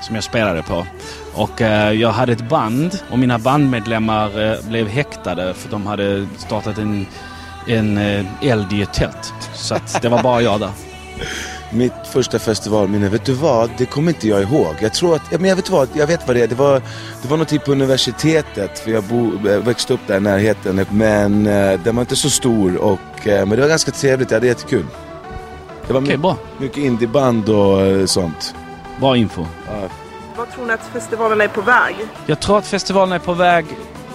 Som jag spelade på. Och eh, jag hade ett band och mina bandmedlemmar eh, blev häktade för de hade startat en, en eh, eld i ett tält. Så att det var bara jag där. Mitt första festivalminne, vet du vad? Det kommer inte jag ihåg. Jag tror att, ja, men jag vet vad, jag vet vad det är. Det var, det var något typ på universitetet, för jag bo, eh, växte upp där i närheten. Men eh, den var inte så stor, och, eh, men det var ganska trevligt. Jag hade jättekul. Det var Okej, mycket, bra. mycket indieband och eh, sånt. Bra info. Vad tror ni att festivalen är på väg? Jag tror att festivalen är på väg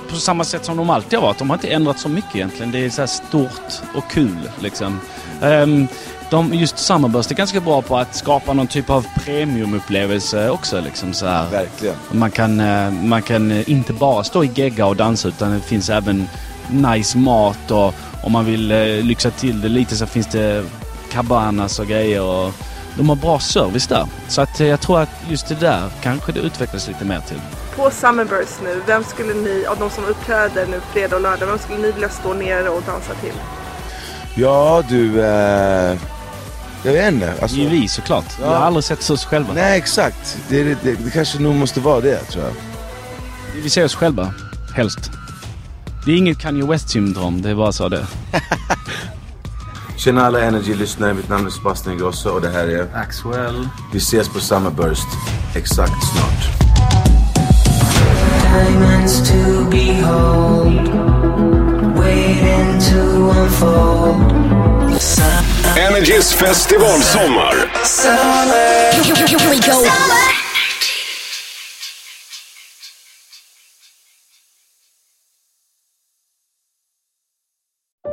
på samma sätt som de alltid har varit. De har inte ändrat så mycket egentligen. Det är så här stort och kul liksom. Ehm, de, just Summerburst är ganska bra på att skapa någon typ av premiumupplevelse också. Liksom, så här. Verkligen. Man kan, eh, man kan eh, inte bara stå i gegga och dansa utan det finns även nice mat och om man vill eh, lyxa till det lite så finns det cabanas och grejer. Och de har bra service där. Så att eh, jag tror att just det där kanske det utvecklas lite mer till. På Summerburst nu, vem skulle ni, av de som uppträder nu fredag och lördag, vem skulle ni vilja stå ner och dansa till? Ja, du... Eh, jag vet inte. Alltså, Det är vi såklart. Vi har aldrig sett oss själva. nej, exakt. Det, det, det, det kanske nog måste vara det, tror jag. Vi ser oss själva, helst. Det är inget Kanye West-syndrom, det är bara så det Tjena alla Energy-lyssnare, mitt namn är Sebastian Grosso och det här är... Axwell. Vi ses på Summerburst. Exakt snart. diamonds to behold, waiting to unfold. Energys festivalsommar. Here we go.